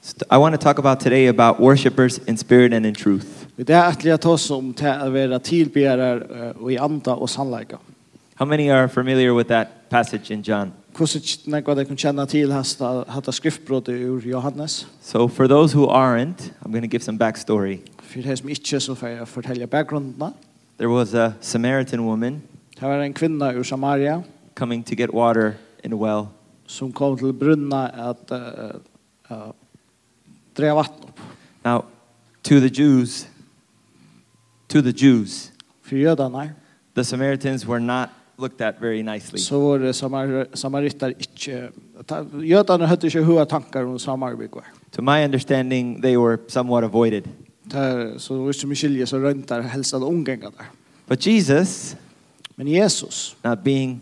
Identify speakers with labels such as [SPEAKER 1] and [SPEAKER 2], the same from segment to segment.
[SPEAKER 1] So I want to talk about today about worshipers in spirit and in truth.
[SPEAKER 2] Vi det att lära oss om till att vara tillbedjare och i eh, anda och sannleika.
[SPEAKER 1] How many are familiar with that passage in John?
[SPEAKER 2] Hvordan när vad det kan känna till hasta hata skriftbrott ur Johannes.
[SPEAKER 1] So for those who aren't, I'm going to give some backstory.
[SPEAKER 2] För det som inte så får jag fortälja bakgrunderna.
[SPEAKER 1] There was a Samaritan woman
[SPEAKER 2] Det var en kvinna ur Samaria
[SPEAKER 1] coming to get water in a well,
[SPEAKER 2] som kom till brunna att uh, uh, dra vatten upp.
[SPEAKER 1] Now, to the Jews, to the Jews,
[SPEAKER 2] För jödarna
[SPEAKER 1] the Samaritans were not looked at very nicely.
[SPEAKER 2] så var det samar samaritar inte jödarna hade inte hur tankar um om samarbete.
[SPEAKER 1] To my understanding, they were somewhat avoided.
[SPEAKER 2] Där så visst som skiljer så röntar hälsan omgängar där.
[SPEAKER 1] But Jesus,
[SPEAKER 2] Men Jesus,
[SPEAKER 1] not being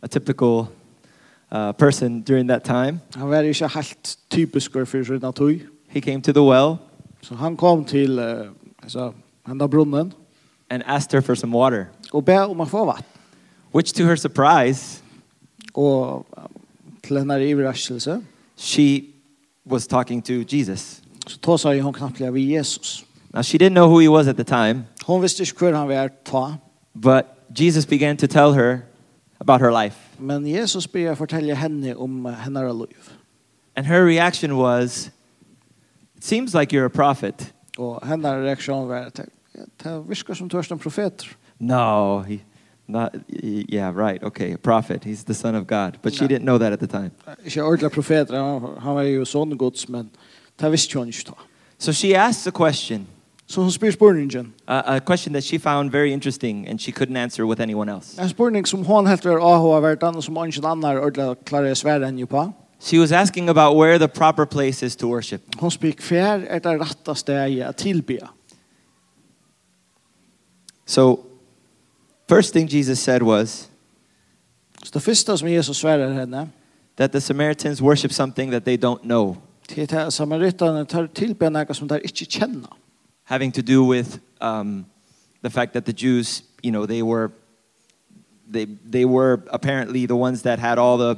[SPEAKER 1] a typical uh, person during that time,
[SPEAKER 2] han var inte helt typisk för sin natur.
[SPEAKER 1] he came to the well
[SPEAKER 2] Så han kom till eh, alltså han där brunnen
[SPEAKER 1] and asked her for some water,
[SPEAKER 2] och bad om att få vatten.
[SPEAKER 1] which to her surprise,
[SPEAKER 2] Och eh, till hennes överraskelse
[SPEAKER 1] she was talking to Jesus.
[SPEAKER 2] så tog sig hon knappt vid Jesus.
[SPEAKER 1] Now, she didn't know who he was at the time,
[SPEAKER 2] Hon visste inte hur han var ta,
[SPEAKER 1] but Jesus began to tell her about her life.
[SPEAKER 2] men Jesus började fortälja henne om eh, hennes liv.
[SPEAKER 1] And her reaction was, It seems like you're a prophet.
[SPEAKER 2] Och hennes reaktion var att "Ja, det viskar som törst en profet.
[SPEAKER 1] No, he, not, y- yeah, right, okay, a prophet. He's the son of God. But she
[SPEAKER 2] No.
[SPEAKER 1] didn't know that at the time.
[SPEAKER 2] Inte ordentliga profeter, han, han var ju sån gods, men det visste hon inte ta.
[SPEAKER 1] So she asks a question,
[SPEAKER 2] Så hon spyr spurningen.
[SPEAKER 1] uh, a question that she found very interesting and she couldn't answer with anyone else.
[SPEAKER 2] En spurning som hon helt var AHA-värdan och som ingen annan ordentligt klarade svära än ju på.
[SPEAKER 1] She was asking about where the proper place is to worship.
[SPEAKER 2] Hon spyr kvär är det rätta steget att tillbe.
[SPEAKER 1] So, first thing Jesus said was
[SPEAKER 2] Så det första som Jesus svärar henne
[SPEAKER 1] that the Samaritans worship something that they don't know,
[SPEAKER 2] till att samaritanen er tar tillbe något som de inte känner.
[SPEAKER 1] having to do with um, the fact that the Jews, you know, they were they they were apparently the ones that had all the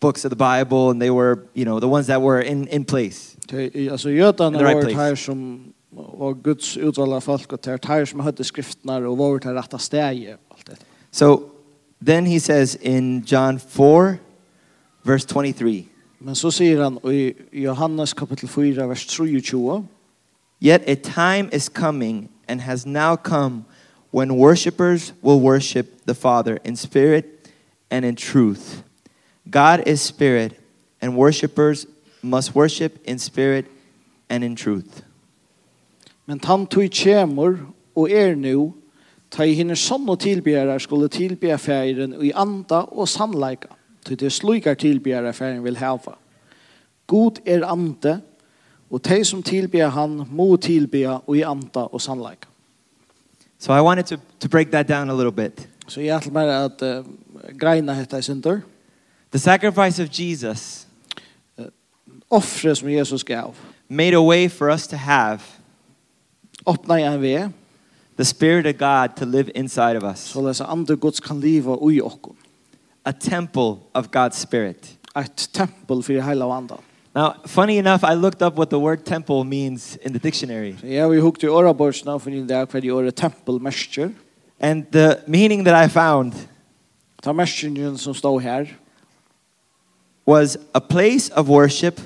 [SPEAKER 1] books of the Bible, and they were you know the ones that were in in place.
[SPEAKER 2] Det er, är- Alltså
[SPEAKER 1] In
[SPEAKER 2] jötarna
[SPEAKER 1] the right
[SPEAKER 2] var det
[SPEAKER 1] place.
[SPEAKER 2] här som var Guds utvalda folk och det är det här som hade skrifterna och var det här rätta steget. och Allt det.
[SPEAKER 1] So then he says in John four, verse twenty three.
[SPEAKER 2] Men så säger han i Johannes kapitel 4, vers 23.
[SPEAKER 1] Yet a time is coming and has now come when worshipers will worship the Father in spirit and in truth. God is spirit, and worshipers must worship in spirit and in truth.
[SPEAKER 2] Men han tog kjemor og er nu, ta i hinner sånn og tilbjærer skulle tilbjære færen i anda og sannleika, til det sluikar tilbjærer færen vil hava. God er ande, og de som tilbjærer han må tilbjære i anda og sannleika.
[SPEAKER 1] So I wanted to, to break that down a little bit.
[SPEAKER 2] Så jeg til meg at uh, greina hette i synder,
[SPEAKER 1] The sacrifice of Jesus
[SPEAKER 2] offre som Jesus gav,
[SPEAKER 1] made a way for us to have
[SPEAKER 2] åpna i en ved,
[SPEAKER 1] the Spirit of God to live inside of us,
[SPEAKER 2] så lese andre gods kan liva ui okkon.
[SPEAKER 1] a temple of God's Spirit.
[SPEAKER 2] Et tempel for heila og andan.
[SPEAKER 1] Now, funny enough, I looked up what the word temple means in the dictionary.
[SPEAKER 2] Jeg har jo hukt i årabordsna for det er hver i året tempelmestjer.
[SPEAKER 1] And the meaning that I found
[SPEAKER 2] Ta mestjeren som står her
[SPEAKER 1] was a place of worship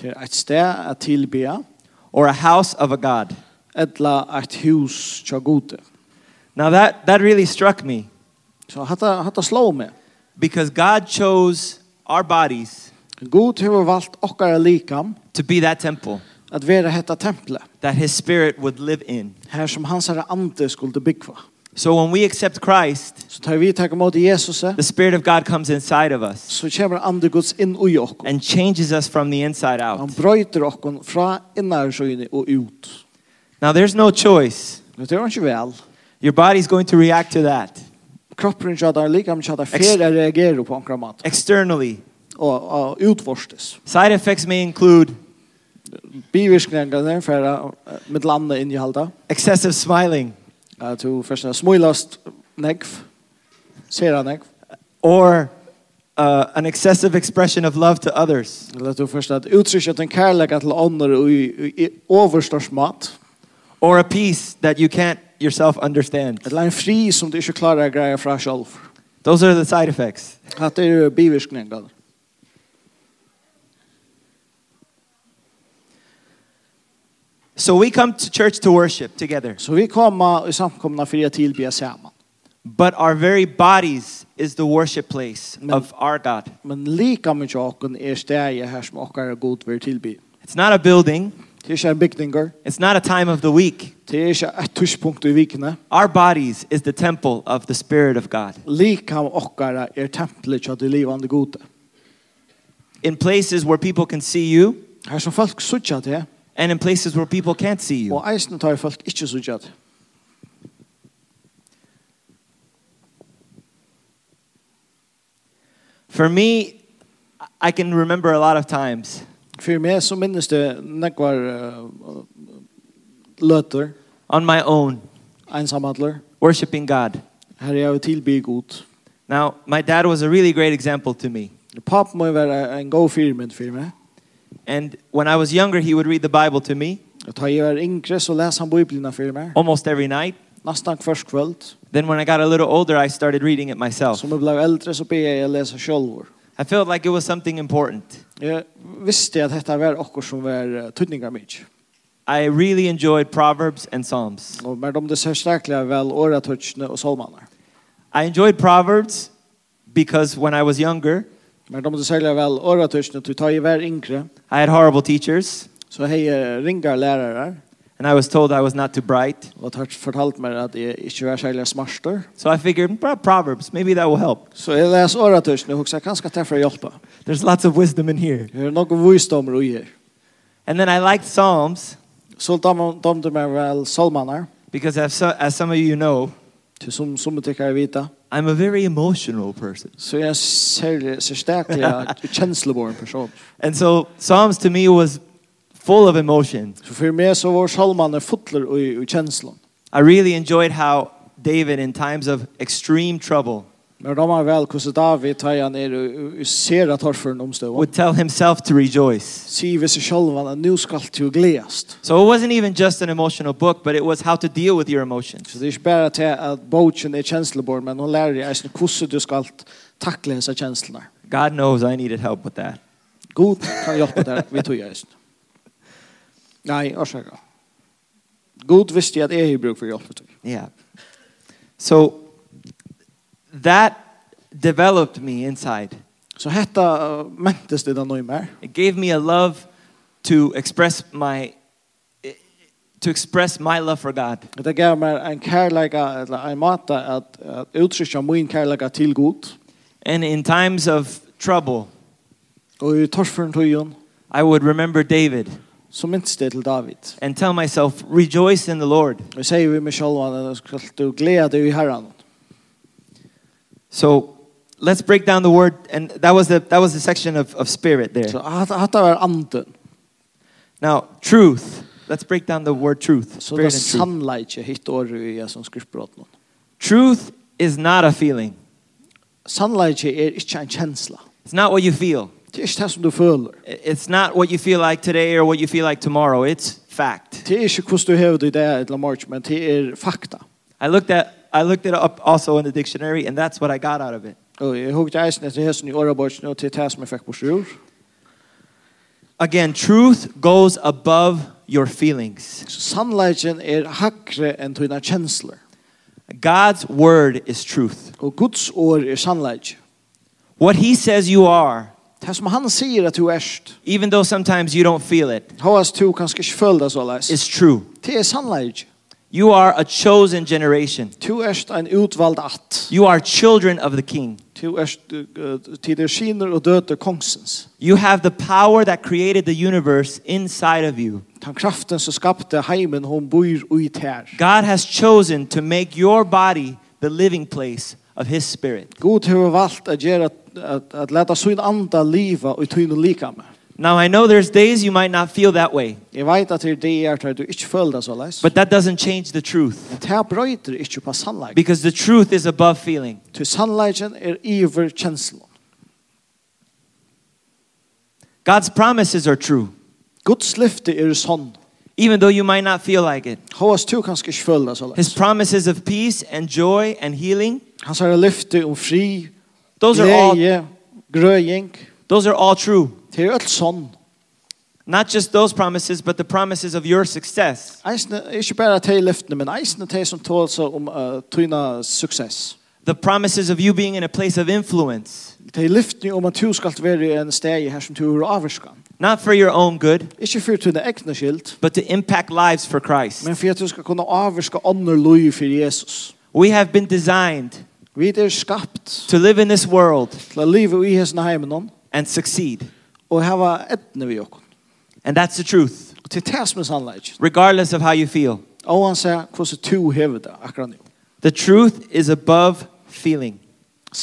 [SPEAKER 2] til et sted at tilbe,
[SPEAKER 1] or a house of a god.
[SPEAKER 2] etla et hus tja gode.
[SPEAKER 1] Now that, that really struck me
[SPEAKER 2] Så hatta, hatta slå med.
[SPEAKER 1] because God chose our bodies
[SPEAKER 2] God har valgt okkara likam
[SPEAKER 1] to be that temple
[SPEAKER 2] at være hetta tempelet,
[SPEAKER 1] that his spirit would live in.
[SPEAKER 2] her som hans herre ande skulle byggva.
[SPEAKER 1] So when we accept Christ,
[SPEAKER 2] Så tar vi takk imot Jesus,
[SPEAKER 1] the spirit of God comes inside of us
[SPEAKER 2] så kommer ande Guds inn ui okkon.
[SPEAKER 1] and changes us from the inside out.
[SPEAKER 2] Han brøyter okkon fra innarsøyne og ut.
[SPEAKER 1] Now there's no choice.
[SPEAKER 2] Men Det er ikke vel.
[SPEAKER 1] Your body's going to react to that
[SPEAKER 2] Kroppen tja der likam tja der
[SPEAKER 1] Ex-
[SPEAKER 2] fer er reagerer på okkara mat.
[SPEAKER 1] externally.
[SPEAKER 2] Og, og utvorstes.
[SPEAKER 1] Side effects may include
[SPEAKER 2] bivirkningarna för att med landa in i halda.
[SPEAKER 1] excessive smiling
[SPEAKER 2] Att du först smilast nekv. Ser han nekv.
[SPEAKER 1] or uh, an excessive expression of love to others.
[SPEAKER 2] Eller du först att uttrycka den kärleken till andra och i, i överstårs mat.
[SPEAKER 1] Or a peace that you can't yourself understand.
[SPEAKER 2] Eller en fri som du inte klarar att greja från själv.
[SPEAKER 1] Those are the side effects.
[SPEAKER 2] Att det är bivirkningar.
[SPEAKER 1] So we come to church to worship together,
[SPEAKER 2] Så vi kommer i samkomna för att tillbe samman.
[SPEAKER 1] but our very bodies is the worship place of our God.
[SPEAKER 2] Men lika mycket åken är stäget här som åker är god för tillbe.
[SPEAKER 1] It's not a building,
[SPEAKER 2] Det är inte en byggningar.
[SPEAKER 1] it's not a time of the week.
[SPEAKER 2] Det är inte ett tuschpunkt i vikene.
[SPEAKER 1] Our bodies is the temple of the Spirit of God.
[SPEAKER 2] Lika åker är templet till det livande gode.
[SPEAKER 1] In places where people can see you,
[SPEAKER 2] Här som folk suttar det.
[SPEAKER 1] and in places where people can't see you.
[SPEAKER 2] Och eisen tar folk inte suttar det.
[SPEAKER 1] For me, I can remember a lot of times
[SPEAKER 2] För mig så minns det nekvar uh, löter,
[SPEAKER 1] on my own
[SPEAKER 2] ensamhandler.
[SPEAKER 1] worshiping God.
[SPEAKER 2] Här är jag tillby god.
[SPEAKER 1] Now, my dad was a really great example to me.
[SPEAKER 2] Papp må vara en god firmynd för mig.
[SPEAKER 1] And when I was younger, he would read the Bible to me
[SPEAKER 2] Jag tar ju var yngre så läser han bibeln för mig.
[SPEAKER 1] almost every night.
[SPEAKER 2] Nästan först kväll.
[SPEAKER 1] Then, when I got a little older, I started reading it myself.
[SPEAKER 2] Så när jag blev äldre så började jag läsa själv.
[SPEAKER 1] I felt like it was something important.
[SPEAKER 2] Jag visste att detta var också som var eh, tydningar mycket.
[SPEAKER 1] I really enjoyed Proverbs and Psalms.
[SPEAKER 2] Och med de det så starkliga väl åratutschne och solmanar.
[SPEAKER 1] I enjoyed Proverbs because when I was younger,
[SPEAKER 2] Med de det särskilt väl åratutschne du tar ju var yngre
[SPEAKER 1] I had horrible teachers,
[SPEAKER 2] så hej ringar lärare
[SPEAKER 1] and I was told I was not too bright.
[SPEAKER 2] og har fortalt meg at jeg ikke var særlig smarster.
[SPEAKER 1] So I figured, "Pro- Proverbs, maybe that will help.
[SPEAKER 2] Så jeg leser åretøysene og husker kanskje til for å hjelpe.
[SPEAKER 1] There's lots of wisdom in here.
[SPEAKER 2] Jeg har noen visdommer i her.
[SPEAKER 1] And then I liked Psalms
[SPEAKER 2] Så dømte meg vel salmaner,
[SPEAKER 1] because, as, so, as some of you know,
[SPEAKER 2] til som som du tykker jeg vite.
[SPEAKER 1] I'm a very emotional person.
[SPEAKER 2] Så jeg er særlig, så sterklig kjenslebåren person.
[SPEAKER 1] And so Psalms to me was full of emotion.
[SPEAKER 2] Så for meg så var salmaner fotler i, i kjenslen.
[SPEAKER 1] I really enjoyed how David, in times of extreme trouble,
[SPEAKER 2] Men de har vel hvordan David tar han er og ser at torferen omstøver.
[SPEAKER 1] would tell himself to rejoice.
[SPEAKER 2] Sier vi seg selv at nå skal til å gledest.
[SPEAKER 1] So it wasn't even just an emotional book, but it was how to deal with your
[SPEAKER 2] Så
[SPEAKER 1] emotions.
[SPEAKER 2] det er ikke bare til at bogen er kjenslebåren, men hun lærer deg eisen hvordan du skal takle disse kjenslene.
[SPEAKER 1] God knows I needed help with that.
[SPEAKER 2] God kan hjelpe deg, vi tog eisen. Nei, årsaker. God visste at jeg har bruk for hjelp for deg.
[SPEAKER 1] Yeah. So that developed me inside.
[SPEAKER 2] Så hette uh, mentes det da noe mer.
[SPEAKER 1] It gave me a love to express my to express my love for God.
[SPEAKER 2] Det gav meg en kærleika, eller en måte at, at uttrykja min kærleika til god.
[SPEAKER 1] And in times of trouble,
[SPEAKER 2] Og i torsføren tøyen,
[SPEAKER 1] I would remember David
[SPEAKER 2] så minnes det til David.
[SPEAKER 1] and tell myself, "Rejoice in the Lord."
[SPEAKER 2] Og sier vi med sjølvan, at skal du glede deg i herren.
[SPEAKER 1] So let's break down the word, and that was the that was the section of, of spirit there.
[SPEAKER 2] Så hette var anden.
[SPEAKER 1] Now truth. Let's break down the word truth.
[SPEAKER 2] Så det er
[SPEAKER 1] Spirit and truth.
[SPEAKER 2] sannleikje hitt året i som skriftbrott nå.
[SPEAKER 1] Truth is not a feeling.
[SPEAKER 2] Sannleikje er ikke en kjensla.
[SPEAKER 1] It's not what you feel.
[SPEAKER 2] Det er ikke det som du føler.
[SPEAKER 1] I- It's not what you feel like today or what you feel like tomorrow. It's fact.
[SPEAKER 2] Det er ikke hvordan du hever det i dag eller morgen, men det er fakta.
[SPEAKER 1] I looked at I looked it up also in the dictionary, and that's what I got out of it.
[SPEAKER 2] Og jeg hukte eisen etter hesten i åraborgen og til det som jeg fikk på sjur.
[SPEAKER 1] Again, truth goes above your feelings.
[SPEAKER 2] Så sannleikjen er hakre enn tøyna kjensler.
[SPEAKER 1] God's word is truth.
[SPEAKER 2] Og Guds år er sannleikje.
[SPEAKER 1] What He says you are,
[SPEAKER 2] Det er som han sier at du erst,
[SPEAKER 1] even though sometimes you don't feel it,
[SPEAKER 2] hans to kanskje ikke føler deg så leis.
[SPEAKER 1] is true.
[SPEAKER 2] Det er sannleikje.
[SPEAKER 1] You are a chosen generation.
[SPEAKER 2] Du erst en utvald at.
[SPEAKER 1] You are children of the King.
[SPEAKER 2] Du erst uh, tider skiner og døter kongsens.
[SPEAKER 1] You have the power that created the universe inside of you.
[SPEAKER 2] Den kraften som skapte heimen hon bor i tær.
[SPEAKER 1] God has chosen to make your body the living place of His Spirit.
[SPEAKER 2] God har valgt at gjøre at, at, at leta sin anda liva og tyne likame.
[SPEAKER 1] Now, I know there's days you might not feel that way,
[SPEAKER 2] Jeg vet at det er det er at du ikke føler deg så leis.
[SPEAKER 1] but that doesn't change the truth
[SPEAKER 2] Men det her brøyter ikke på sannleik.
[SPEAKER 1] because the truth is above feeling.
[SPEAKER 2] Til sannleiken er iver kjenslen.
[SPEAKER 1] God's promises are true,
[SPEAKER 2] Guds lyfte er sånn.
[SPEAKER 1] even though you might not feel like it.
[SPEAKER 2] Håas du kanskje ikke føler deg så
[SPEAKER 1] His promises of peace and joy and healing,
[SPEAKER 2] Hans herre lyfte om fri,
[SPEAKER 1] those are all,
[SPEAKER 2] gleie, grøying.
[SPEAKER 1] those are all true.
[SPEAKER 2] Det er alt sånn.
[SPEAKER 1] Not just those promises, but the promises of your success,
[SPEAKER 2] Eisne, ikke bare til lyftene, men eisne til som tål seg om uh, tøyna suksess.
[SPEAKER 1] the promises of you being in a place of influence,
[SPEAKER 2] Til lyftene om er um at du skal være en steg her som du er avvarskan.
[SPEAKER 1] not for your own good,
[SPEAKER 2] Ikke for tøyna egne skilt,
[SPEAKER 1] but to impact lives for Christ.
[SPEAKER 2] men for at du skal kunne avvarska andre loy for Jesus.
[SPEAKER 1] We have been designed
[SPEAKER 2] Vi er skapt
[SPEAKER 1] to live in this world
[SPEAKER 2] til å leve i hesten heimen om,
[SPEAKER 1] and succeed.
[SPEAKER 2] og hava etne vi okkur.
[SPEAKER 1] And that's the truth,
[SPEAKER 2] Og er til tæs med sannleik.
[SPEAKER 1] regardless of how you feel.
[SPEAKER 2] Og han sier hvordan to hever det akkurat nå.
[SPEAKER 1] The truth is above feeling.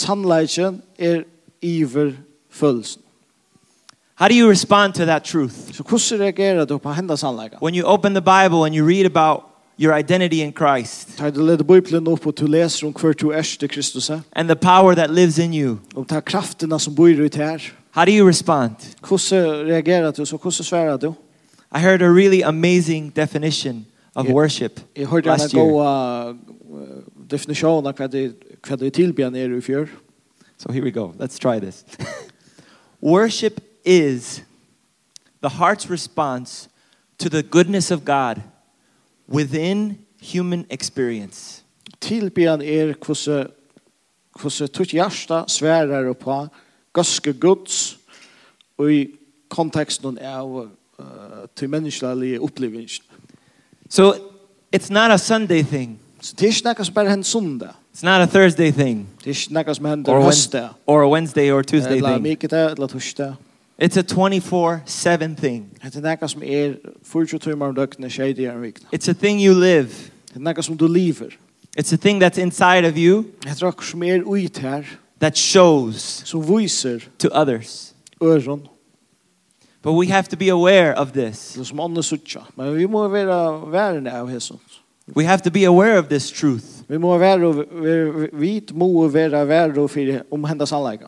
[SPEAKER 2] Sannleiken er iver følelsen.
[SPEAKER 1] How do you respond to that truth?
[SPEAKER 2] Så hvordan reagerer du på henda sannleiken?
[SPEAKER 1] When you open the Bible and you read about your identity in Christ
[SPEAKER 2] Tar du leder Bibelen opp og du leser om hver du er til Kristus, eh?
[SPEAKER 1] and the power that lives in you,
[SPEAKER 2] om ta krafterna som bor ut her.
[SPEAKER 1] how do you respond?
[SPEAKER 2] Hvordan reagerer du, så hvordan sverer du?
[SPEAKER 1] I heard a really amazing definition of
[SPEAKER 2] Yeah.
[SPEAKER 1] worship
[SPEAKER 2] Jeg hørte en
[SPEAKER 1] last year.
[SPEAKER 2] god uh, definisjon av hva det hva det tilbyr nere i fjør.
[SPEAKER 1] So here we go. Let's try this. worship is the heart's response to the goodness of God within human experience.
[SPEAKER 2] Tilbyr er hvordan hvordan tutt hjärsta sverer og på ganske gods og i konteksten av uh, til menneskelige opplevelsen.
[SPEAKER 1] So it's not a Sunday thing.
[SPEAKER 2] Så det er ikke noe som bare hender sundag.
[SPEAKER 1] It's not a Thursday thing
[SPEAKER 2] Det er ikke noe som
[SPEAKER 1] Or
[SPEAKER 2] hender
[SPEAKER 1] when-
[SPEAKER 2] høstet.
[SPEAKER 1] or a Wednesday or Tuesday
[SPEAKER 2] Eller
[SPEAKER 1] thing.
[SPEAKER 2] mikete, eller torsdag.
[SPEAKER 1] It's a 24/7 thing.
[SPEAKER 2] Det er noe som er 40 timer om døgnet, skjedd i en vikne.
[SPEAKER 1] It's a thing you live.
[SPEAKER 2] Det er noe som du lever.
[SPEAKER 1] It's a thing that's inside of you
[SPEAKER 2] Det er noe som er ut her,
[SPEAKER 1] that shows
[SPEAKER 2] som viser
[SPEAKER 1] to others.
[SPEAKER 2] øren,
[SPEAKER 1] But we have to be aware of this.
[SPEAKER 2] eller som andre suttja. Men vi må være værende av Jesus.
[SPEAKER 1] We have to be aware of this truth.
[SPEAKER 2] Vi må være, vi, vi må være værende for om hendes anleggen.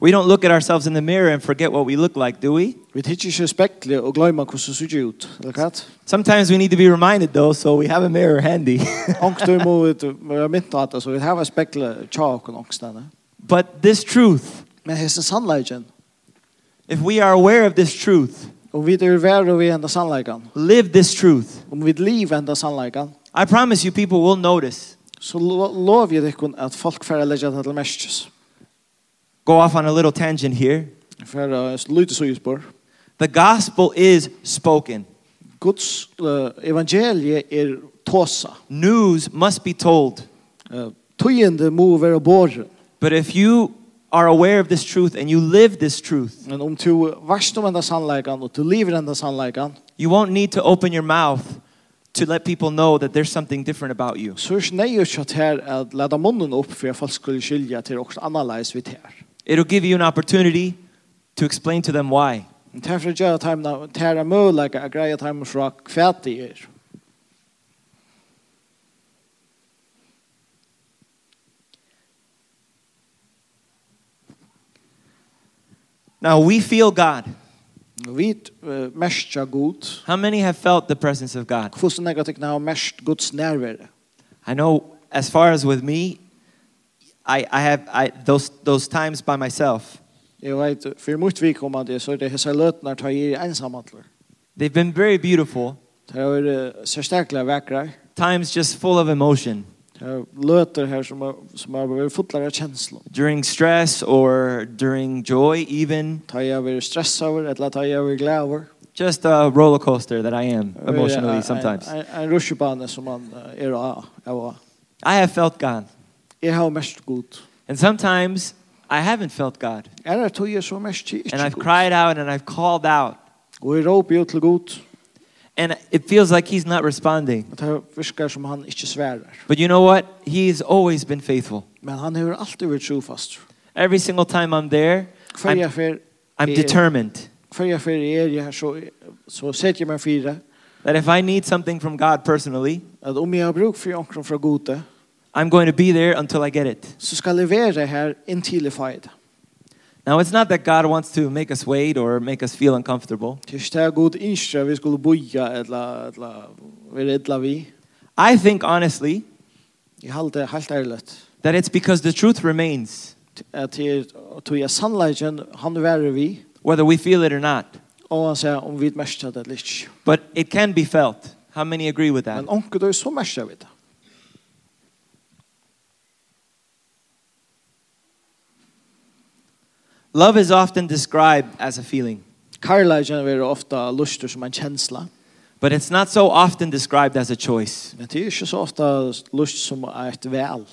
[SPEAKER 1] We don't look at ourselves in the mirror and forget what we look like, do we?
[SPEAKER 2] Vi tidsjer ikke spektelig og glemmer hvordan det ser ut, eller hva?
[SPEAKER 1] Sometimes we need to be reminded though, so we have a mirror handy.
[SPEAKER 2] Angstøy må vi være mynt av det, så vi har spektelig tja og angstene.
[SPEAKER 1] but this truth,
[SPEAKER 2] Men hesten sannleggen,
[SPEAKER 1] if we are aware of this truth,
[SPEAKER 2] om vi er værende ved hendes anleggen,
[SPEAKER 1] live this truth,
[SPEAKER 2] om vi lever hendes anleggen,
[SPEAKER 1] I promise you people will notice.
[SPEAKER 2] så lo- lov jeg dere at folk får legge det til mestkjøs.
[SPEAKER 1] Go off on a little tangent here.
[SPEAKER 2] For å lytte så utspår.
[SPEAKER 1] The gospel is spoken.
[SPEAKER 2] Guds uh, evangelie er tåsa.
[SPEAKER 1] News must be told.
[SPEAKER 2] Uh, Tøyende må være båre.
[SPEAKER 1] But if you are aware of this truth and you live this truth,
[SPEAKER 2] Men om du varst om enda sannleikene, og du lever enda sannleikene,
[SPEAKER 1] you won't need to open your mouth to let people know that there's something different about you.
[SPEAKER 2] så er ikke nøy ikke at her at leda munnen opp for at folk skulle skilja til også annerledes vidt her.
[SPEAKER 1] It'll give you an opportunity to explain to them why.
[SPEAKER 2] Men derfor gjør jeg timene, tæra møleika, jeg greier timene fra hva det er.
[SPEAKER 1] Now, we feel God.
[SPEAKER 2] Vi uh, mestja god,
[SPEAKER 1] How many have felt the presence of God?
[SPEAKER 2] hvordan jeg tenker har mest Guds nærvære.
[SPEAKER 1] I know as far as with me, I, I have I, those, those times by myself.
[SPEAKER 2] Jeg vet, for mot vi kommer det, så er det hese løtene tar i ensamhandler.
[SPEAKER 1] They've been very beautiful,
[SPEAKER 2] Det er eh, så sterkelig vekkere.
[SPEAKER 1] times just full of emotion
[SPEAKER 2] Det er løter her som er, som er vært fotlere av kjensler.
[SPEAKER 1] during stress or during joy, even.
[SPEAKER 2] Ta jeg vært stress over, eller ta jeg vært glad over.
[SPEAKER 1] Just a roller coaster that Oh, I am
[SPEAKER 2] Det er, eh,
[SPEAKER 1] emotionally sometimes.
[SPEAKER 2] En, en, en rusjebane som man eh, er av. av av.
[SPEAKER 1] I have felt God.
[SPEAKER 2] Jeg har mest god.
[SPEAKER 1] And sometimes I haven't felt God.
[SPEAKER 2] Er det tog jeg så mest ikke
[SPEAKER 1] And I've
[SPEAKER 2] god.
[SPEAKER 1] cried out and I've called out.
[SPEAKER 2] Og jeg råper jo til god.
[SPEAKER 1] And it feels like He's not responding.
[SPEAKER 2] Og Det virker som han ikke sverer.
[SPEAKER 1] But you know what? He's always been faithful.
[SPEAKER 2] Men han har alltid vært trofast.
[SPEAKER 1] Every single time I'm there,
[SPEAKER 2] Hver
[SPEAKER 1] I'm-
[SPEAKER 2] jeg fer,
[SPEAKER 1] I'm
[SPEAKER 2] Yeah.
[SPEAKER 1] determined
[SPEAKER 2] hver jeg fer er jeg her, så, så setter jeg meg fire.
[SPEAKER 1] that if I need something from God personally,
[SPEAKER 2] At om jeg har bruk for omkring fra gode,
[SPEAKER 1] I'm going to be there until I get it.
[SPEAKER 2] så skal jeg være her inntil jeg får det.
[SPEAKER 1] Now, it's not that God wants to make us wait or make us feel uncomfortable.
[SPEAKER 2] Det är inte god inskja vi skulle boja eller eller vi rädla vi.
[SPEAKER 1] I think, honestly,
[SPEAKER 2] Jag håller helt ärligt
[SPEAKER 1] that it's because the truth remains,
[SPEAKER 2] att det är tog jag sannoliken er han värre vi
[SPEAKER 1] whether we feel it or not.
[SPEAKER 2] och han säger om vi mästar det lite.
[SPEAKER 1] But it can be felt. How many agree with that?
[SPEAKER 2] Men onkel då är så mästar vi det.
[SPEAKER 1] Love is often described as a feeling,
[SPEAKER 2] Karlagen är ofta lustor som en känsla.
[SPEAKER 1] but it's not so often described as a choice,
[SPEAKER 2] Men det är inte så ofta lust som är ett väl.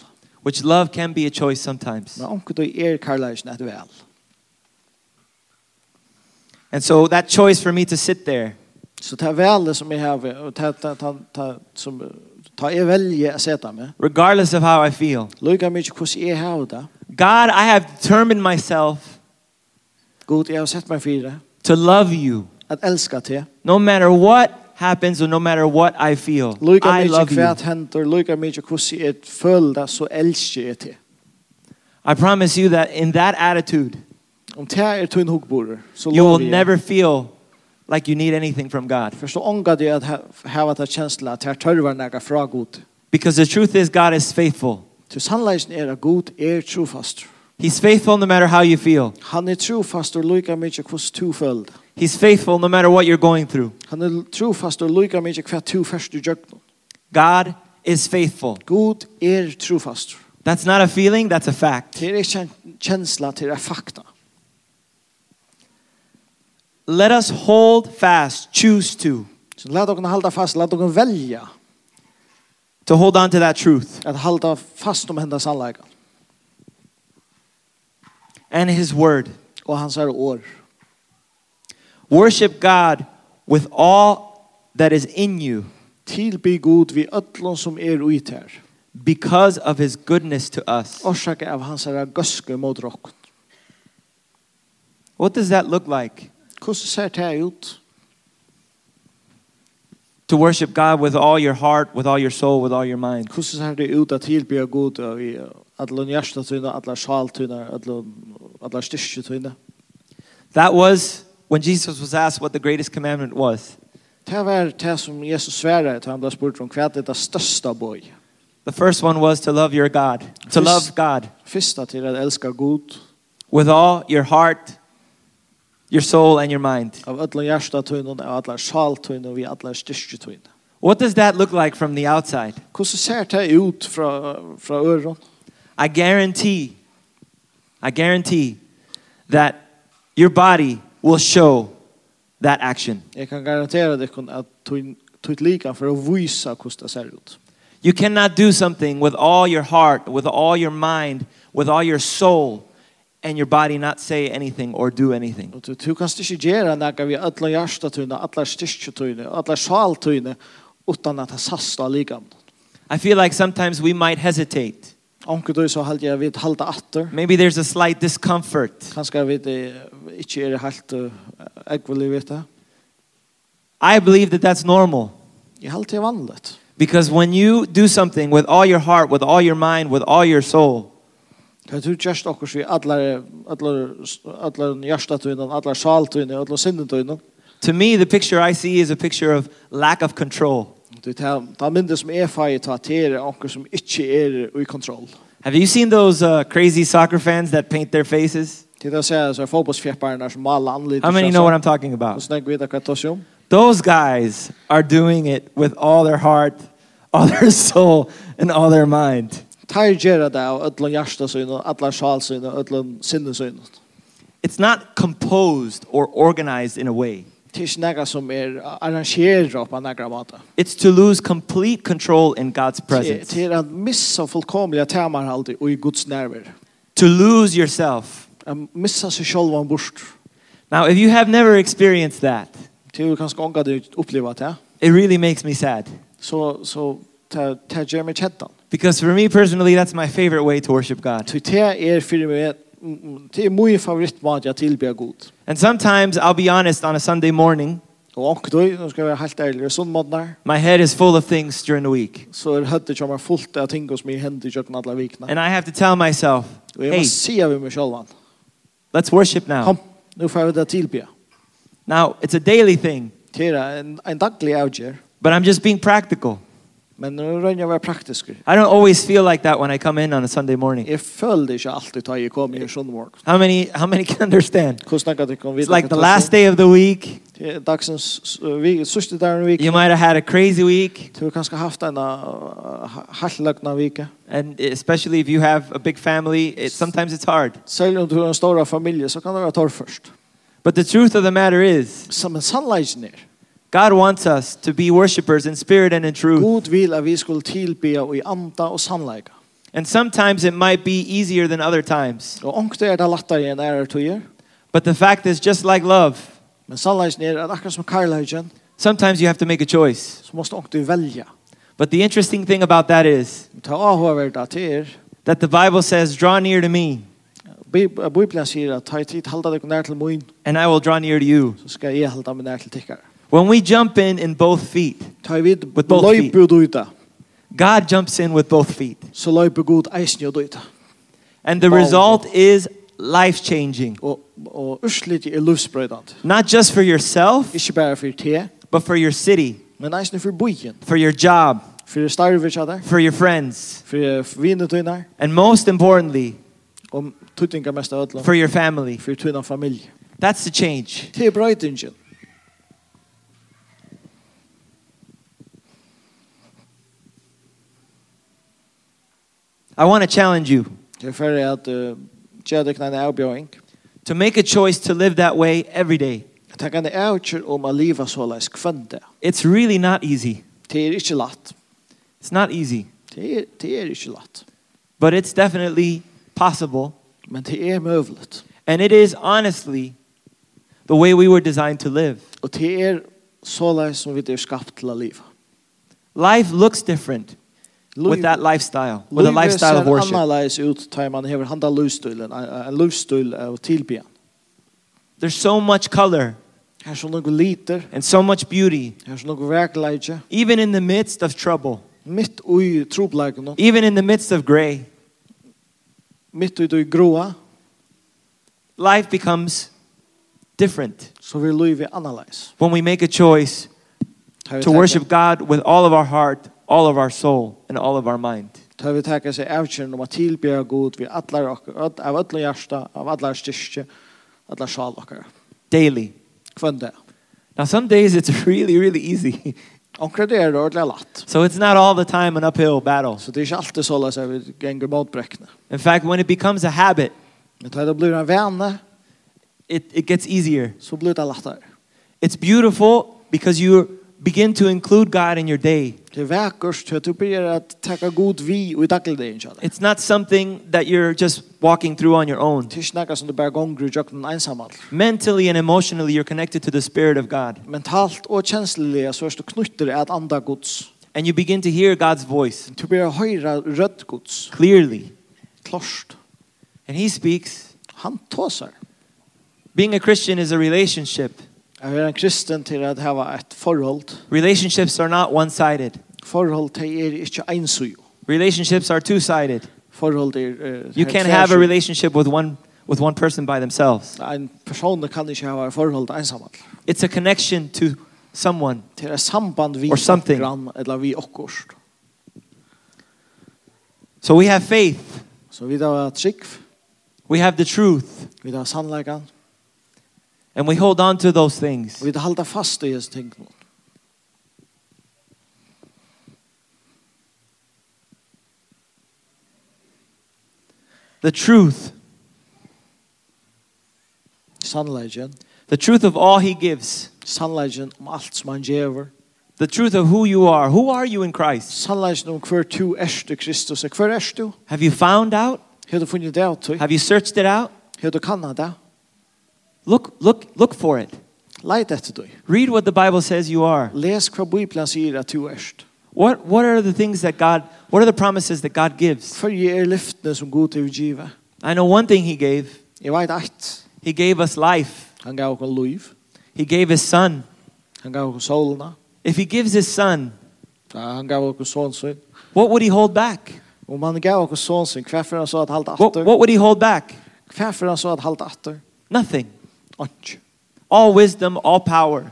[SPEAKER 1] which love can be a choice sometimes.
[SPEAKER 2] Men er onkel då är karlagen ett väl.
[SPEAKER 1] And so that choice for me to sit there
[SPEAKER 2] Så det här välet som jag har och det ta ta ta som er ta jag välja att sätta mig.
[SPEAKER 1] regardless of how I feel.
[SPEAKER 2] Lukar mycket hur jag har det.
[SPEAKER 1] God, I have determined myself
[SPEAKER 2] God jag har sett mig för det.
[SPEAKER 1] to love you
[SPEAKER 2] Att älska till.
[SPEAKER 1] no matter what happens or no matter what I feel.
[SPEAKER 2] Lukar
[SPEAKER 1] I
[SPEAKER 2] mycket
[SPEAKER 1] love you.
[SPEAKER 2] kvärt händer. Lukar mycket hur jag földa så älskar jag till.
[SPEAKER 1] I promise you that in that attitude,
[SPEAKER 2] Om er det här är tunn huggborre så
[SPEAKER 1] you will
[SPEAKER 2] lovar jag.
[SPEAKER 1] never feel like you need anything from God.
[SPEAKER 2] Förstå ångar det att ha att känsla att här törvar några frågor. God.
[SPEAKER 1] Because the truth is, God is faithful.
[SPEAKER 2] Till sannleisen er at god er trofast.
[SPEAKER 1] He's faithful no matter how you feel.
[SPEAKER 2] Han er trofast og lykka mykje hos to følg.
[SPEAKER 1] He's faithful no matter what you're going through.
[SPEAKER 2] Han er trofast og lykka mykje hva to først i djøkken.
[SPEAKER 1] God is faithful.
[SPEAKER 2] God er trofast.
[SPEAKER 1] That's not a feeling, that's a fact.
[SPEAKER 2] Det er ikke en kjensla, det er fakta.
[SPEAKER 1] Let us hold fast, choose to,
[SPEAKER 2] Så la dere halda fast, la dere velja
[SPEAKER 1] to hold on to that truth
[SPEAKER 2] at halda fast um om hendas anleggen.
[SPEAKER 1] and His Word.
[SPEAKER 2] Og hans er år.
[SPEAKER 1] Worship God with all that is in you
[SPEAKER 2] Tilby god vi ötlån som er ut her.
[SPEAKER 1] because of His goodness to us.
[SPEAKER 2] Årsaka av hans er gøske mot rokken.
[SPEAKER 1] What does that look like?
[SPEAKER 2] Hvordan ser det her ut?
[SPEAKER 1] To worship God with all your heart, with all your soul, with all your mind.
[SPEAKER 2] Hvordan ser det ut at tilby god av i alle hjertetøyne, alle sjaltøyne, alle styrketøyne?
[SPEAKER 1] That was when Jesus was asked what the greatest commandment was.
[SPEAKER 2] Det var det som Jesus sværer til han ble spurt om hva er det største bøy.
[SPEAKER 1] The first one was to love your God, to
[SPEAKER 2] Yes.
[SPEAKER 1] love God
[SPEAKER 2] Fyrsta til at elska god
[SPEAKER 1] with all your heart, your soul, and your mind.
[SPEAKER 2] av alle hjertetøyne, av alle sjaltøyne og vi alle styrketøyne.
[SPEAKER 1] What does that look like from the outside?
[SPEAKER 2] Hvordan ser det ut fra, fra øren?
[SPEAKER 1] I guarantee, I guarantee that your body will show that action.
[SPEAKER 2] Jeg kan garantere dere at tøyt lika for å vise hvordan det ser ut.
[SPEAKER 1] You cannot do something with all your heart, with all your mind, with all your soul, and your body not say anything or do anything.
[SPEAKER 2] Og du, du kan ikke gjøre noe vi alle hjertetøyne, alle styrketøyne, alle sjaltøyne, utan at det sasta lika.
[SPEAKER 1] I feel like sometimes we might hesitate.
[SPEAKER 2] Anker du så halte jeg vidt halte atter.
[SPEAKER 1] Maybe there's a slight discomfort.
[SPEAKER 2] Kanskje jeg vet ikke er det helt uh, ekvelig vet det.
[SPEAKER 1] I believe that that's normal
[SPEAKER 2] Jeg halte det er vanligt.
[SPEAKER 1] because when you do something with all your heart, with all your mind, with all your soul,
[SPEAKER 2] Det er just akkurat vi alle, alle, alle hjertetøyne, alle sjaltøyne, alle sinnetøyne.
[SPEAKER 1] to me, the picture I see is a picture of lack of control.
[SPEAKER 2] Du tar ta mindre som er feil til at det er anker som ikke er i kontroll.
[SPEAKER 1] Have you seen those uh, crazy soccer fans that paint their faces?
[SPEAKER 2] Til det å se så er fotbollsfjepparene som maler anlitt.
[SPEAKER 1] How many know what I'm talking
[SPEAKER 2] Og
[SPEAKER 1] about?
[SPEAKER 2] snakker vi det hva det er om.
[SPEAKER 1] Those guys are doing it with all their heart, all their soul, and all their mind.
[SPEAKER 2] Tar gjør det av alle hjertetøyne, alle sjaltøyne, alle sinnetøyne.
[SPEAKER 1] It's not composed or organized in a way.
[SPEAKER 2] Det er ikke noe som er arrangerer på noen måte.
[SPEAKER 1] It's to lose complete control in God's
[SPEAKER 2] Til
[SPEAKER 1] presence.
[SPEAKER 2] til at missa fullkomliga temaer alltid og i Guds nerver.
[SPEAKER 1] to lose yourself.
[SPEAKER 2] At missa seg själva en bort.
[SPEAKER 1] Now, if you have never experienced that,
[SPEAKER 2] Til du kanskje ånga du opplever det.
[SPEAKER 1] it really makes me sad.
[SPEAKER 2] Så, så ta, ta gjør meg kjettan.
[SPEAKER 1] Because for me personally, that's my favorite way to worship God.
[SPEAKER 2] Til det er fyrir meg, det er mye favorittmat jeg tilbyr god.
[SPEAKER 1] And sometimes, I'll be honest, on a Sunday morning,
[SPEAKER 2] Og ånga du, nå skal jeg være helt ærlig, sånn måneder,
[SPEAKER 1] my head is full of things during the week.
[SPEAKER 2] så er høttet som er fullt av ting som er hendt i kjøkken alle vikene.
[SPEAKER 1] And I have to tell myself,
[SPEAKER 2] Og jeg må
[SPEAKER 1] hey,
[SPEAKER 2] si av meg självan.
[SPEAKER 1] Let's worship now.
[SPEAKER 2] Kom, nu får vi det tilbe.
[SPEAKER 1] Now, it's a daily thing,
[SPEAKER 2] Tera, en, en daglig avgjør.
[SPEAKER 1] but I'm just being practical.
[SPEAKER 2] Men nu rønner jeg å være praktisk.
[SPEAKER 1] I don't always feel like that when I come in on a Sunday morning.
[SPEAKER 2] Jeg føler ikke alltid da jeg kommer i en sånn morgen.
[SPEAKER 1] How many how many can understand?
[SPEAKER 2] Hvordan kan du komme
[SPEAKER 1] It's like the last day of the week.
[SPEAKER 2] day. Dagsens, vi, sørste dagen i
[SPEAKER 1] You
[SPEAKER 2] viken.
[SPEAKER 1] might have had a crazy week,
[SPEAKER 2] Du har kanskje haft en uh, halvløgna vike.
[SPEAKER 1] and especially if you have a big family, it, sometimes it's hard.
[SPEAKER 2] Selv om du har en stor familie, så kan det være torr først.
[SPEAKER 1] But the truth of the matter is,
[SPEAKER 2] Som en sannleggen er.
[SPEAKER 1] God wants us to be worshipers in spirit and in truth.
[SPEAKER 2] God vil at vi skulle tilbe og i anda og sannleggen.
[SPEAKER 1] And sometimes it might be easier than other times.
[SPEAKER 2] Og ångte er det lettere enn ære tøyer.
[SPEAKER 1] But the fact is, just like love,
[SPEAKER 2] Men sannleggen er at akkurat som karlægen,
[SPEAKER 1] sometimes you have to make a choice.
[SPEAKER 2] så måste ångte velja. Um
[SPEAKER 1] But the interesting thing about that is
[SPEAKER 2] Ta avhåver det til er.
[SPEAKER 1] that the Bible says, Draw near to me,
[SPEAKER 2] Bib- Bibelen sier at ta i tid halda deg nær til moin,
[SPEAKER 1] and I will draw near to you.
[SPEAKER 2] så skal jeg halda meg nær til tikkar.
[SPEAKER 1] When we jump in in both feet,
[SPEAKER 2] Ta i vid
[SPEAKER 1] With both feet.
[SPEAKER 2] løype og duita,
[SPEAKER 1] God jumps in with both feet.
[SPEAKER 2] så løype god eisen og duita.
[SPEAKER 1] And the
[SPEAKER 2] Wow.
[SPEAKER 1] result is life changing,
[SPEAKER 2] Og, og urslit er luftsbrøydant.
[SPEAKER 1] not just for yourself,
[SPEAKER 2] Ikke bare for te,
[SPEAKER 1] but for your city,
[SPEAKER 2] men eisen for bojen,
[SPEAKER 1] for your job,
[SPEAKER 2] for starve ikke der,
[SPEAKER 1] for your friends,
[SPEAKER 2] for vinnet tøyner,
[SPEAKER 1] and most importantly,
[SPEAKER 2] og tuttinga mest av ødlom,
[SPEAKER 1] for your family.
[SPEAKER 2] for tøyna familie.
[SPEAKER 1] That's the change.
[SPEAKER 2] Te er brøydingen.
[SPEAKER 1] I want to challenge you
[SPEAKER 2] Det er fyrir at uh, tjadekna en avbjøring.
[SPEAKER 1] to make a choice to live that way every day.
[SPEAKER 2] Det kan jeg avgjør om å um liva så leis kvende.
[SPEAKER 1] It's really not easy.
[SPEAKER 2] Det er ikke latt.
[SPEAKER 1] It's not easy,
[SPEAKER 2] Det er, det er ikke latt.
[SPEAKER 1] but it's definitely possible.
[SPEAKER 2] Men det er møvlet.
[SPEAKER 1] And it is honestly the way we were designed to live.
[SPEAKER 2] Og det er så leis som vi er skapt til å liva.
[SPEAKER 1] Life looks different with that lifestyle, with a lifestyle of
[SPEAKER 2] Livet ser
[SPEAKER 1] worship.
[SPEAKER 2] annerledes ut til man hever handa livsstilen, en en livsstil av tilbyen.
[SPEAKER 1] There's so much color
[SPEAKER 2] Her er så noe liter,
[SPEAKER 1] and so much beauty,
[SPEAKER 2] her er så noe verkleidje.
[SPEAKER 1] even in the midst of trouble,
[SPEAKER 2] Mitt ui trobleikene,
[SPEAKER 1] even in the midst of gray.
[SPEAKER 2] mitt ui du groa,
[SPEAKER 1] Life becomes different
[SPEAKER 2] så vil livet annerledes.
[SPEAKER 1] when we make a choice
[SPEAKER 2] Ta vi
[SPEAKER 1] to
[SPEAKER 2] taka-
[SPEAKER 1] worship God with all of our heart, all of our soul, and all of our mind.
[SPEAKER 2] Ta vi takka seg avkjøren om å tilbya god vi atlar okkar, at- av atlar hjärsta, av atlar styrke, atlar sjal okkar.
[SPEAKER 1] Daily.
[SPEAKER 2] Kvann det.
[SPEAKER 1] Now, some days it's really, really easy.
[SPEAKER 2] Onkra det er det ordentlig latt.
[SPEAKER 1] So it's not all the time an uphill battle.
[SPEAKER 2] Så det er ikke alltid så løs at vi ganger motbrekkene.
[SPEAKER 1] In fact, when it becomes a habit,
[SPEAKER 2] Men ta det blir en vane,
[SPEAKER 1] it, it gets easier.
[SPEAKER 2] så blir det lattere.
[SPEAKER 1] It's beautiful because you begin to include God in your day.
[SPEAKER 2] Det er vekkert til at du blir at takka god vi og i dagligdagen kjall.
[SPEAKER 1] It's not something that you're just walking through on your own.
[SPEAKER 2] Det er ikke noe som du bare gonger i jøkken ensamall.
[SPEAKER 1] Mentally and emotionally, you're connected to the Spirit of God.
[SPEAKER 2] Mentalt og kjenslelig så er du knytter at andre gods.
[SPEAKER 1] And you begin to hear God's voice
[SPEAKER 2] Du blir høyre rødt gods.
[SPEAKER 1] clearly.
[SPEAKER 2] Klost.
[SPEAKER 1] And He speaks.
[SPEAKER 2] Han tåser.
[SPEAKER 1] Being a Christian is a relationship.
[SPEAKER 2] Jeg er en kristen til at hava et forhold.
[SPEAKER 1] Relationships are not one sided,
[SPEAKER 2] Forhold til er ikke ensujo.
[SPEAKER 1] relationships are two sided.
[SPEAKER 2] Forhold til er...
[SPEAKER 1] You can't have a relationship with one, with one person by themselves,
[SPEAKER 2] En person kan ikke hava et forhold til ensamall.
[SPEAKER 1] it's a connection to someone.
[SPEAKER 2] Det er samband vi
[SPEAKER 1] Or something.
[SPEAKER 2] grann, eller vi okkurst.
[SPEAKER 1] So we have faith,
[SPEAKER 2] Så vi tar trygg,
[SPEAKER 1] we have the truth,
[SPEAKER 2] vi tar sannleggen,
[SPEAKER 1] and we hold on to those things.
[SPEAKER 2] og vi tar halda fast i disse tingene.
[SPEAKER 1] The truth,
[SPEAKER 2] Sannleggen.
[SPEAKER 1] the truth of all He gives,
[SPEAKER 2] Sannleggen om alt som han gjever.
[SPEAKER 1] the truth of who you are. Who are you in Christ?
[SPEAKER 2] Sannleggen om um hver tu erst du Kristus. Og Hver erst du?
[SPEAKER 1] Have you found out?
[SPEAKER 2] Har du funnet det ut?
[SPEAKER 1] Have you searched it out?
[SPEAKER 2] Har du kannet det?
[SPEAKER 1] Look, look, look for it.
[SPEAKER 2] Leit etter du.
[SPEAKER 1] Read what the Bible says you are.
[SPEAKER 2] Les hva Bibelen sier at du erst.
[SPEAKER 1] What, what are the things that God, what are the promises that God gives?
[SPEAKER 2] Hver er lyftene som god til å give.
[SPEAKER 1] I know one thing He gave
[SPEAKER 2] Jeg vet at
[SPEAKER 1] He gave us life,
[SPEAKER 2] han gav oss liv.
[SPEAKER 1] He gave His Son.
[SPEAKER 2] Han gav oss solene.
[SPEAKER 1] If He gives His Son,
[SPEAKER 2] Han gav oss sånnsyn.
[SPEAKER 1] what would He hold back?
[SPEAKER 2] Om han gav oss sånnsyn, hva for han så at halda
[SPEAKER 1] What,
[SPEAKER 2] atter?
[SPEAKER 1] what would He hold back?
[SPEAKER 2] Hva for han så at halda atter?
[SPEAKER 1] Nothing.
[SPEAKER 2] Onk.
[SPEAKER 1] All wisdom, all power,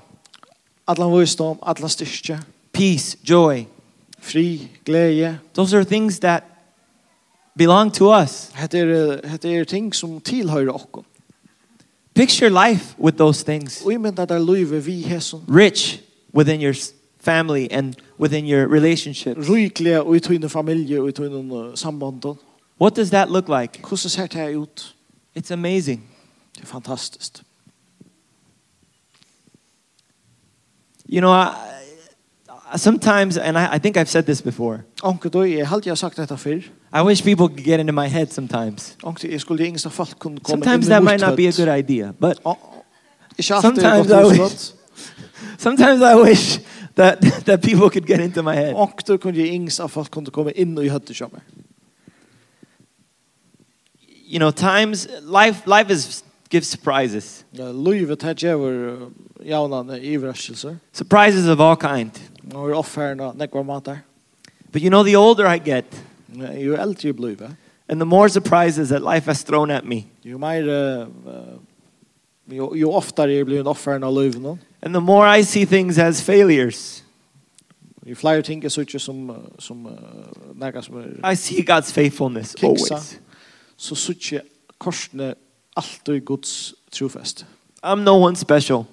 [SPEAKER 2] Allan visdom, allan styrke,
[SPEAKER 1] peace, joy.
[SPEAKER 2] fri, glede.
[SPEAKER 1] Those are things that belong to us.
[SPEAKER 2] Hette er, hette er ting som tilhører okkom.
[SPEAKER 1] Picture life with those things.
[SPEAKER 2] Og jeg mener der løyve vi hesson
[SPEAKER 1] Rich within your s- family and within your relationships.
[SPEAKER 2] ryklige og i tøyne familie og i tøyne sambanden.
[SPEAKER 1] What does that look like?
[SPEAKER 2] Hvordan ser det her ut?
[SPEAKER 1] It's amazing.
[SPEAKER 2] Det er fantastisk.
[SPEAKER 1] You know, I, I- sometimes, and I, I think I've said this before,
[SPEAKER 2] Onke då, jeg har alltid sagt dette før.
[SPEAKER 1] I wish people could get into my head sometimes.
[SPEAKER 2] Onke, jeg skulle yngsta folk kunne komme
[SPEAKER 1] Sometimes that might not be a good idea, but
[SPEAKER 2] Ikke alltid er
[SPEAKER 1] Sometimes
[SPEAKER 2] godt
[SPEAKER 1] I
[SPEAKER 2] utslått.
[SPEAKER 1] sometimes I wish that, that people could get into my head.
[SPEAKER 2] Onke då kunne jeg yngsta folk kunne komme inn og i høttet sammen.
[SPEAKER 1] You know, times, life, life is, gives surprises,
[SPEAKER 2] Løyve tar djever jaunene i vrøskelser.
[SPEAKER 1] surprises of all kind.
[SPEAKER 2] Og er offerna nekvar matar. er
[SPEAKER 1] But you know, the older I get,
[SPEAKER 2] Jo eldre jeg blir,
[SPEAKER 1] and the more surprises that life has thrown at me,
[SPEAKER 2] jo mer eh, jo, jo oftare er jeg blir en offerna løyvene.
[SPEAKER 1] and the more I see things as failures,
[SPEAKER 2] Jo flere ting jeg sier som, eh, som eh, nekka som er
[SPEAKER 1] I see God's faithfulness
[SPEAKER 2] Kiksa.
[SPEAKER 1] always.
[SPEAKER 2] så sier jeg korsene alltid Guds trofest.
[SPEAKER 1] I'm no one special,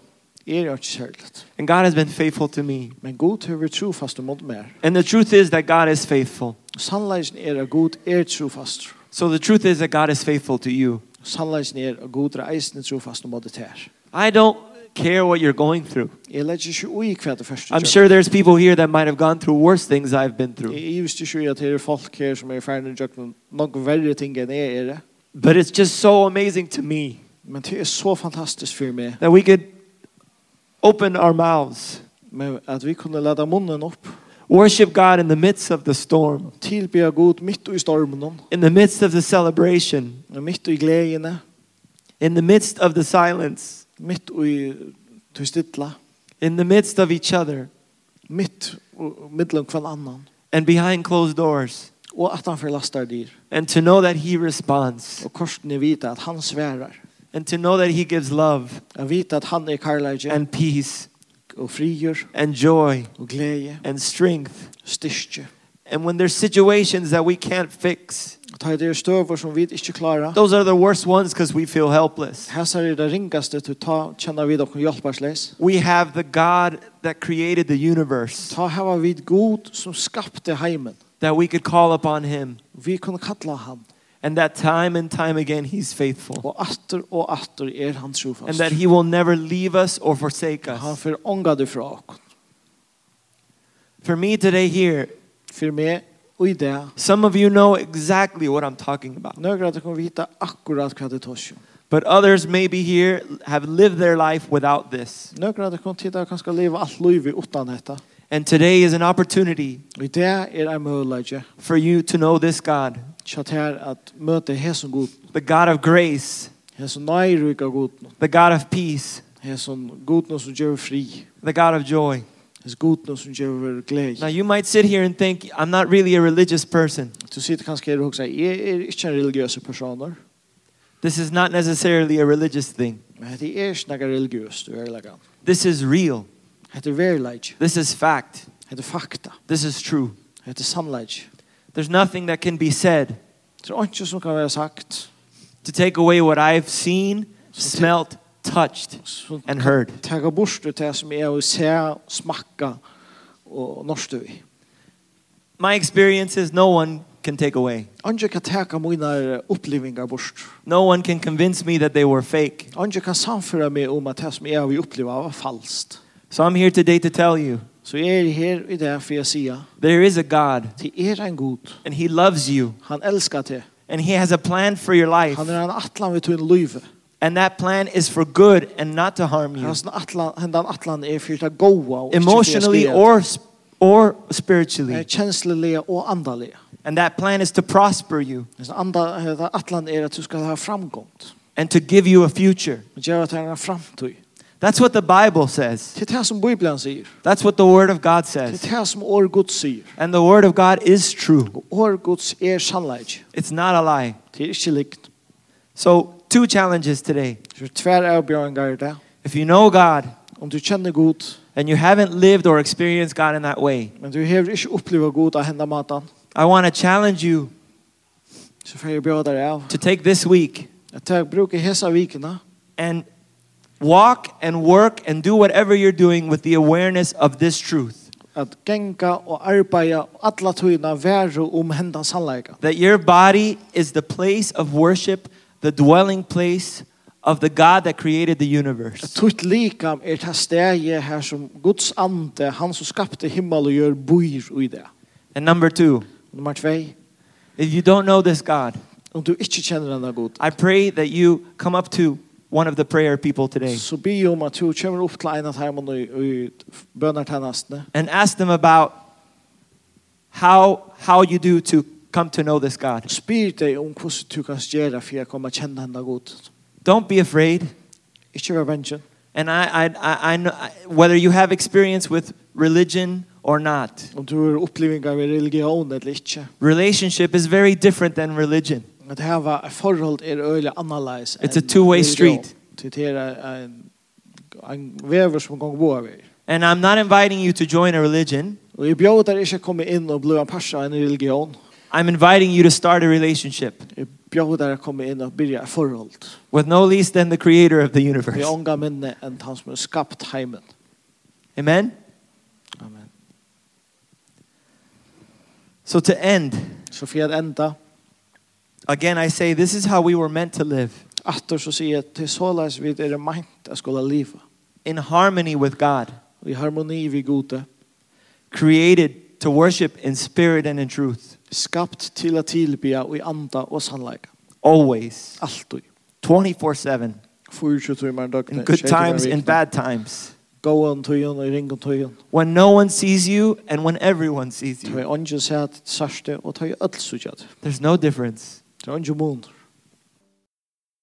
[SPEAKER 2] Jeg er ikke særlig.
[SPEAKER 1] and God has been faithful to me.
[SPEAKER 2] Men Gud har vært trofast mot mer.
[SPEAKER 1] And the truth is that God is faithful.
[SPEAKER 2] Sannleisen er at Gud er trofast.
[SPEAKER 1] So the truth is that God is faithful to you.
[SPEAKER 2] Sannleisen er at Gud er eisen trofast mot det her.
[SPEAKER 1] I don't care what you're going through.
[SPEAKER 2] Jeg legger ikke ui hva det første
[SPEAKER 1] I'm sure there's people here that might have gone through worse things I've been through.
[SPEAKER 2] Jeg visste ikke at det er folk her som er ferdig og gjør noen verre ting enn jeg er det.
[SPEAKER 1] But it's just so amazing to me
[SPEAKER 2] Men det er så fantastisk for meg
[SPEAKER 1] that we could open our mouths,
[SPEAKER 2] men at vi kunne lade munnen opp,
[SPEAKER 1] worship God in the midst of the storm,
[SPEAKER 2] tilbe Gud midt i stormen,
[SPEAKER 1] in the midst of the celebration,
[SPEAKER 2] midt i gledene,
[SPEAKER 1] in the midst of the silence,
[SPEAKER 2] midt i tystidla,
[SPEAKER 1] in the midst of each other,
[SPEAKER 2] midt og middelen hver annan,
[SPEAKER 1] and behind closed doors,
[SPEAKER 2] og at han forlaster dyr,
[SPEAKER 1] and to know that He responds,
[SPEAKER 2] og korsen er vite at han sverar,
[SPEAKER 1] and to know that He gives love
[SPEAKER 2] og vite at han er karlage,
[SPEAKER 1] and peace
[SPEAKER 2] og frigjør,
[SPEAKER 1] and joy
[SPEAKER 2] og glede,
[SPEAKER 1] and strength.
[SPEAKER 2] styrke.
[SPEAKER 1] And when there's situations that we can't fix,
[SPEAKER 2] Ta i det støver som vi ikke klarer,
[SPEAKER 1] Those are the worst ones because we feel helpless.
[SPEAKER 2] Hesar er det ringaste til ta, kjenner vi dere hjelpersleis.
[SPEAKER 1] We have the God that created the universe,
[SPEAKER 2] Ta hava vid god som skapte heimen.
[SPEAKER 1] that we could call upon Him,
[SPEAKER 2] Vi kunne kalla han.
[SPEAKER 1] and that time and time again He's faithful,
[SPEAKER 2] Og atter og atter er han trofast.
[SPEAKER 1] and that He will never leave us or forsake
[SPEAKER 2] han
[SPEAKER 1] us.
[SPEAKER 2] får ånga det fra oss.
[SPEAKER 1] For me today, here,
[SPEAKER 2] For meg og i det.
[SPEAKER 1] some of you know exactly what I'm talking about,
[SPEAKER 2] Några at kan vita akkurat hva det tås jo.
[SPEAKER 1] but others maybe here have lived their life without this.
[SPEAKER 2] Några at kan titta kan skal leva alt livet utan detta.
[SPEAKER 1] And today is an opportunity
[SPEAKER 2] Og i det er en mulighet
[SPEAKER 1] for you to know this God,
[SPEAKER 2] til at her at møte hesen god.
[SPEAKER 1] the God of grace,
[SPEAKER 2] Hesen nærryka god.
[SPEAKER 1] the God of peace,
[SPEAKER 2] Hesen god som gjør fri.
[SPEAKER 1] the God of joy.
[SPEAKER 2] Hesen god som gjør
[SPEAKER 1] Now
[SPEAKER 2] glede.
[SPEAKER 1] you might sit here and think I'm not really a religious person.
[SPEAKER 2] Du sitter kanskje her og sier, jeg er ikke en religiøse personer.
[SPEAKER 1] This is not necessarily a religious thing.
[SPEAKER 2] Men det er ikke noe religiøst, du er lagant.
[SPEAKER 1] This is real.
[SPEAKER 2] Det er verleik,
[SPEAKER 1] This is fact.
[SPEAKER 2] det er fakta,
[SPEAKER 1] This is true.
[SPEAKER 2] det er sannleik.
[SPEAKER 1] There's nothing that can be said
[SPEAKER 2] Det er ikke som kan være sagt,
[SPEAKER 1] to take away what I've seen, smelt, touched
[SPEAKER 2] som
[SPEAKER 1] and heard.
[SPEAKER 2] tager bort det som er å se, smakka og norsk i.
[SPEAKER 1] My experiences no one can take away.
[SPEAKER 2] Andre kan taga mine opplevingar bort.
[SPEAKER 1] No one can convince me that they were fake.
[SPEAKER 2] Andre kan samføre meg om at det som jeg har opplevd var falskt.
[SPEAKER 1] So I'm here today to tell you
[SPEAKER 2] Så jeg er her i det for jeg sier,
[SPEAKER 1] there is a God
[SPEAKER 2] til er en god.
[SPEAKER 1] and he loves you
[SPEAKER 2] Han elskar det.
[SPEAKER 1] and he has a plan for your life
[SPEAKER 2] Han er en atlan ved tunn løyve.
[SPEAKER 1] and that plan is for good and not to harm you.
[SPEAKER 2] Hans er atlan, hendan atlan er for det goa. og ikke for det
[SPEAKER 1] emotionally
[SPEAKER 2] skadliga.
[SPEAKER 1] or sp- or spiritually.
[SPEAKER 2] Eh, kjenslelige og andalige.
[SPEAKER 1] And that plan is to prosper you
[SPEAKER 2] Hvis anda heta atlan er at du skal ha framgångt.
[SPEAKER 1] and to give you a future.
[SPEAKER 2] Men gjør at det er en framtid.
[SPEAKER 1] That's what the Bible says.
[SPEAKER 2] Det er det som Bibelen sier.
[SPEAKER 1] That's what the Word of God
[SPEAKER 2] Det er
[SPEAKER 1] says.
[SPEAKER 2] det som år Guds sier.
[SPEAKER 1] And the Word of God is true.
[SPEAKER 2] Og år Guds er sannleik.
[SPEAKER 1] It's not a lie.
[SPEAKER 2] Det er ikke likt.
[SPEAKER 1] So two challenges today.
[SPEAKER 2] Så tvär avbjöringar i det.
[SPEAKER 1] If you know God
[SPEAKER 2] Om du känner god,
[SPEAKER 1] and you haven't lived or experienced God in that way,
[SPEAKER 2] men du har inte upplevt god av hända matan,
[SPEAKER 1] I want to challenge you
[SPEAKER 2] så får jag bjöda dig av.
[SPEAKER 1] to take this week
[SPEAKER 2] Jag tar bruk i hessa vikerna
[SPEAKER 1] and walk and work and do whatever you're doing with the awareness of this truth
[SPEAKER 2] att gänga och arbeta alla tydna värre om hända sannleika.
[SPEAKER 1] that your body is the place of worship, the dwelling place of the God that created the
[SPEAKER 2] Att
[SPEAKER 1] universe.
[SPEAKER 2] tutt likam är det stege här som Guds ande, han som skapte himmel och gör bor i det.
[SPEAKER 1] And number two,
[SPEAKER 2] Nummer två,
[SPEAKER 1] if you don't know this God,
[SPEAKER 2] om du inte känner denna god,
[SPEAKER 1] I pray that you come up to one of the prayer people today
[SPEAKER 2] så be om att du kommer upp till en av dem och i bönartjänsten
[SPEAKER 1] and ask them about how, how you do to come to know this God.
[SPEAKER 2] Spyr dig om hur du kan göra för att komma känna henne god.
[SPEAKER 1] Don't be afraid.
[SPEAKER 2] Ikke vær vengen.
[SPEAKER 1] And I, I, I, I know, I- whether you have experience with religion or not,
[SPEAKER 2] Om du har opplevelser av religion eller ikke.
[SPEAKER 1] relationship is very different than religion.
[SPEAKER 2] At det her var et forhold er øyelig annerledes.
[SPEAKER 1] It's a two-way street.
[SPEAKER 2] Til det er en, en vever som går bo av er.
[SPEAKER 1] And I'm not inviting you to join a religion.
[SPEAKER 2] Og jeg bjør der ikke komme inn og bli en parsa av en religion.
[SPEAKER 1] I'm inviting you to start a relationship
[SPEAKER 2] Jeg bjør der å komme inn og byrja et forhold.
[SPEAKER 1] with no least than the creator of the
[SPEAKER 2] Vi
[SPEAKER 1] universe.
[SPEAKER 2] ånga minne enn han som er skapt heimen.
[SPEAKER 1] Amen?
[SPEAKER 2] Amen.
[SPEAKER 1] So, to end,
[SPEAKER 2] Så for jeg enda,
[SPEAKER 1] again, I say this is how we were meant to live
[SPEAKER 2] atter så sier jeg til såleis vi er meint at skulle liva.
[SPEAKER 1] in harmony with God,
[SPEAKER 2] Og i harmoni vi gode.
[SPEAKER 1] created to worship in spirit and in truth,
[SPEAKER 2] Skapt til at tilbya og i anda og sannleik.
[SPEAKER 1] always,
[SPEAKER 2] Altid.
[SPEAKER 1] 24 7,
[SPEAKER 2] 24 timer døgnet.
[SPEAKER 1] in good times, in bad Mm. times.
[SPEAKER 2] Gåan tøyen og ringan tøyen.
[SPEAKER 1] when no one sees you and when everyone sees
[SPEAKER 2] Tøy
[SPEAKER 1] you.
[SPEAKER 2] ongen sæt sørste og tøy ødelsutjad.
[SPEAKER 1] There's no difference.
[SPEAKER 2] Tøy ongen måneder.